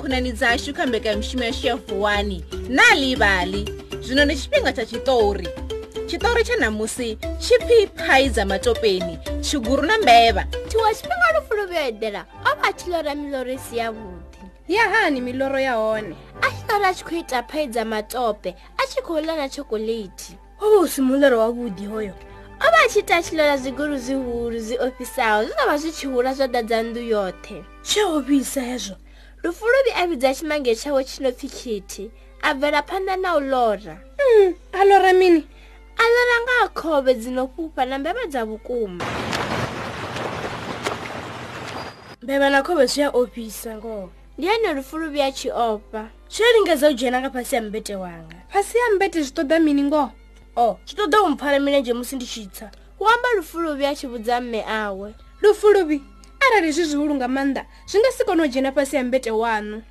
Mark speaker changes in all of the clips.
Speaker 1: khonani dzashu kha mbekanyamushumo yashu ya vuwani na livhali zwino ndi tshifhinga tsha tshiṱori tshiṱori tsha ṋamusi tshi pfi phai dza matopeni tshiguru na mbevha
Speaker 2: tshiṅwe tshifhinga lufu lu vhuyo eḓela o vha a tshi lora miloro i si yavhuḓi
Speaker 1: ya hani miloro ya hone
Speaker 2: a tshi lora a tshi khou ita phai dza matope a tshi khou ḽa na chokoḽeiti
Speaker 3: ho vha hu si muloro wavhuḓi hoyo
Speaker 2: o vha a tshi ita a tshi lora zwigulu zwihulu zwi ofisaho zwi ḓo vha zwi tshi hula zwa ḓadza nnḓu yoṱhe
Speaker 3: tshe ho vhisa hezwo
Speaker 2: lufu luvhi a vhidza tshimange tshawe tshi no pfhi khithi a bvela phanḓa na u lora
Speaker 3: Mm, a lora mini
Speaker 2: a lora nga ha khovhe dzi no fhufha na mbevha dza vhukuma
Speaker 3: mbevha na khovhe zwi a ofhisa ngoho
Speaker 2: ndi hone lufu luvhi a tshi ofha
Speaker 3: zwi a lingedza u dzhena nga fhasi ya mbete wanga fhasi ya mbete zwi ṱoḓa mini ngoho o zwi ṱoḓa u mpfhara milenzhe musi ndi tshi tsa
Speaker 2: hu amba lufu luvhi a tshi vhudza mme awe
Speaker 3: lufu luvhi arali zwi zwihulu nga maanḓa zwi nga si kone u dzhena fhasi ya mbete waṋu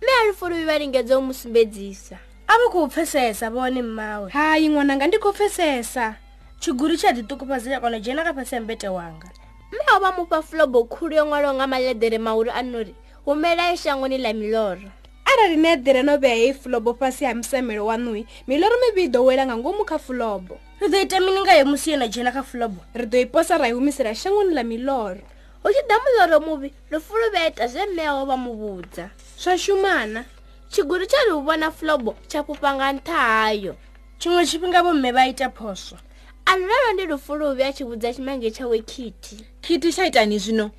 Speaker 2: mme a lufu luvhi vha lingedza u mu sumbedzisa
Speaker 3: a vha khou pfesesa vhone mmawe hayi ṅwananga ndi khou pfesesa tshigulu tsha ḓiṱukufhadza tsha kona u dzhena nga fhasi ya mbete wanga
Speaker 2: mme o vha mufha fulobo khulu yo ṅwalaho nga maḽeḓere mahulu a nori humelayo shangoni ḽa miloro
Speaker 3: arali ni eḓela no vhea hei fulobo fhasi ha musamelo waṋui miloro mivhi i ḓo wela nga ngomu kha fulobo ri ḓo ita mini ngayo musi yo no dzhena kha fulobo ri ḓo i posa ra i humisela shangoni ḽa miloro
Speaker 2: hu tshi ḓa muloro muvhi lufu lu vha ita zwe mme awe vha mu vhudza
Speaker 3: zwa shumana
Speaker 2: tshigulu tsha ri u vhona fulobo tsha fhufha nga nṱha hayo
Speaker 3: tshiṅwe tshifhinga vomme vha ita phoswo
Speaker 2: a lulalo ndi lufu luvhi a tshi vhudza tshimange tshawe khithi
Speaker 1: khithi tsha itani zwino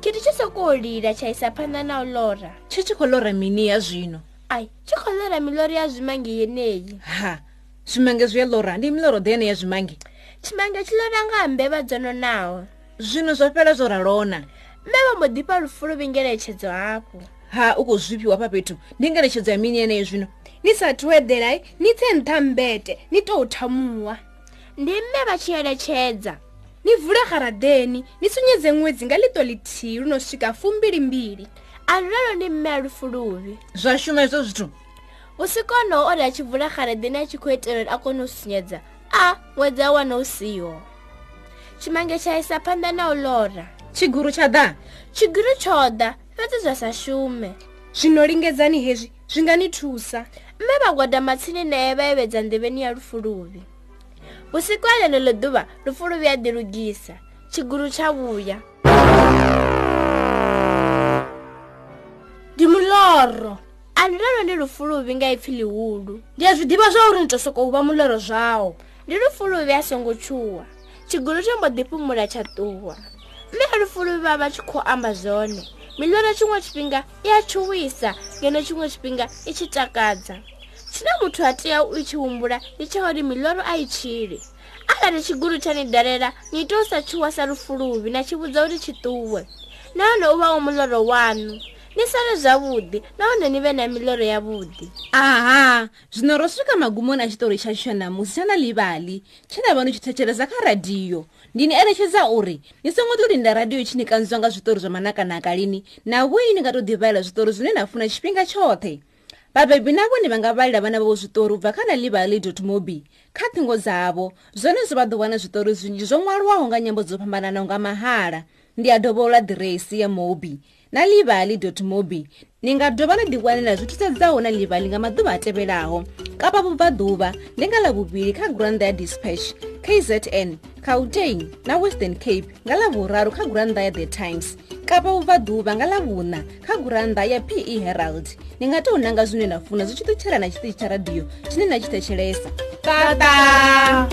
Speaker 2: khithi tshi sokou lila tsha isa phanḓa na u lora
Speaker 1: tshi tshi khou lora mini ya zwino
Speaker 2: ai tshi khou lora miloro ya zwimange yeneyi
Speaker 1: ha zwimange zwi a lora ndi miloro ḓe yene ya zwimange
Speaker 2: tshimange tshi lora nga ha mbevha dzo nonaho
Speaker 1: zwino zwo fhela zwo ralona
Speaker 2: mme vha mbo ḓifha lufu luvhi ngeletshedzo hafhu
Speaker 1: ha u khou zwifhiwa hafha fhethu ndi ngeletshedzo ya mini yeneyo zwino
Speaker 3: ni sathu eḓelai ni tse nṱha ha mbete ni tou thamuwa
Speaker 2: ndi mme vha tshi eletshedza
Speaker 3: ni vule garadeni ni sunyedze ṅwedzi nga ḽito ḽithihi lu no swika fumbilimbili
Speaker 2: a lulalo ndi mme a lufu luvhi
Speaker 1: zwa shuma hezwo zwithu
Speaker 2: vhusiku honoho o ri a tshi vula kharadini a tshi khou itela uri a kone u sunyedza a ṅwedzi a wana u siho tshimange tsha isa phanḓa na u lora
Speaker 1: tshiguru tsha ḓa
Speaker 2: tshigiri tsho ḓa fhedzi zwa sa shume
Speaker 3: zwino lingedzani hezwi zwi nga ni thusa
Speaker 2: mme vha gwada tsini nae vha evhedza nḓevheni ya lufu luvhi vhusiku ha ḽeneḽo ḓuvha lufu luvhi a ḓilugisa tshigulu tsha vhuya
Speaker 3: ndi muloro
Speaker 2: a ḽilalo ndi lufu luvhi nga ipfhi ḽihulu
Speaker 3: ndi a zwi ḓivha zwa uri ni to sokou vha muloro zwawo
Speaker 2: ndi lufu luvhi a songo tshuwa tshigulu tsho mbo ḓifhumula tsha ṱuwa mme a lufu luvhi vha vha tshi khou amba zwone miḽoro tshiṅwe tshifhinga i a tshuwisa ngeno tshiṅwe tshifhinga i tshi takadza tshine muthu a tea u tshi humbula ndi tsha uri miḽoro a i tshili arali tshigulu tsha ni dalela ni tea u sa tshuwa sa lufu luvhi na tshi vhudza uri tshi ṱuwe nahone u vha wo muḽoro waṋu ni sale zwavhuḓi nahone ni vhe na miḽoro yavhuḓi
Speaker 1: aha zwino ro swika magumoni a tshitori tshashu tsha ṋamusi tsha na ḽivhali tshe na vha ni tshi thetshelesa kha radiyo ndi ni eletshedza uri ni songo ḓo linda radiyo itshi ni kanzwa nga zwiṱori zwa manakanaka lini na vhoi ni nga tou ḓivhalela zwiṱori zwine na funa tshifhinga tshoṱhe vhabebi na vhone vha nga vhalela vhana vhavho zwiṱori u bva kha na ḽivhali mobi kha ṱhingo dzavho zwone zwi vha ḓo wana zwiṱori zwinzhi zwo ṅwalwaho nga nyambo dzo fhambananaho nga mahala ndi a dovholola ḓiresi ya mobi na livali mobi ni nga dovha na ḓiwanela zwi thusedzaho na livali nga maḓuvha a tevhelaho kapa vhubvaḓuvha ndi nga ḽavhuvhili kha gurannḓa ya dispatch kzn gauteng na western cape nga ḽavhuraru kha gurannḓa ya the times kapa vhubvaḓuvha nga ḽavhuṋa kha gurannḓa ya pe herald ni nga tou nanga zwine na funa zwi tshi ṱutshela na tshiṱitshi tsha radio tshine na tshi thetshelesa tata